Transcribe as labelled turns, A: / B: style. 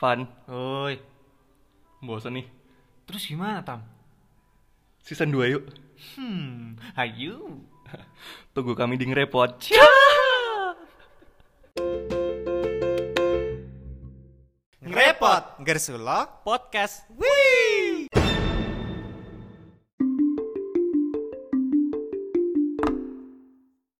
A: Van, oi. Bosan nih.
B: Terus gimana, Tam?
A: Season 2 yuk.
B: Hmm, hayu.
A: Tunggu kami di ngerepot.
C: Ngerepot, Gersulok,
A: Podcast.
C: Wih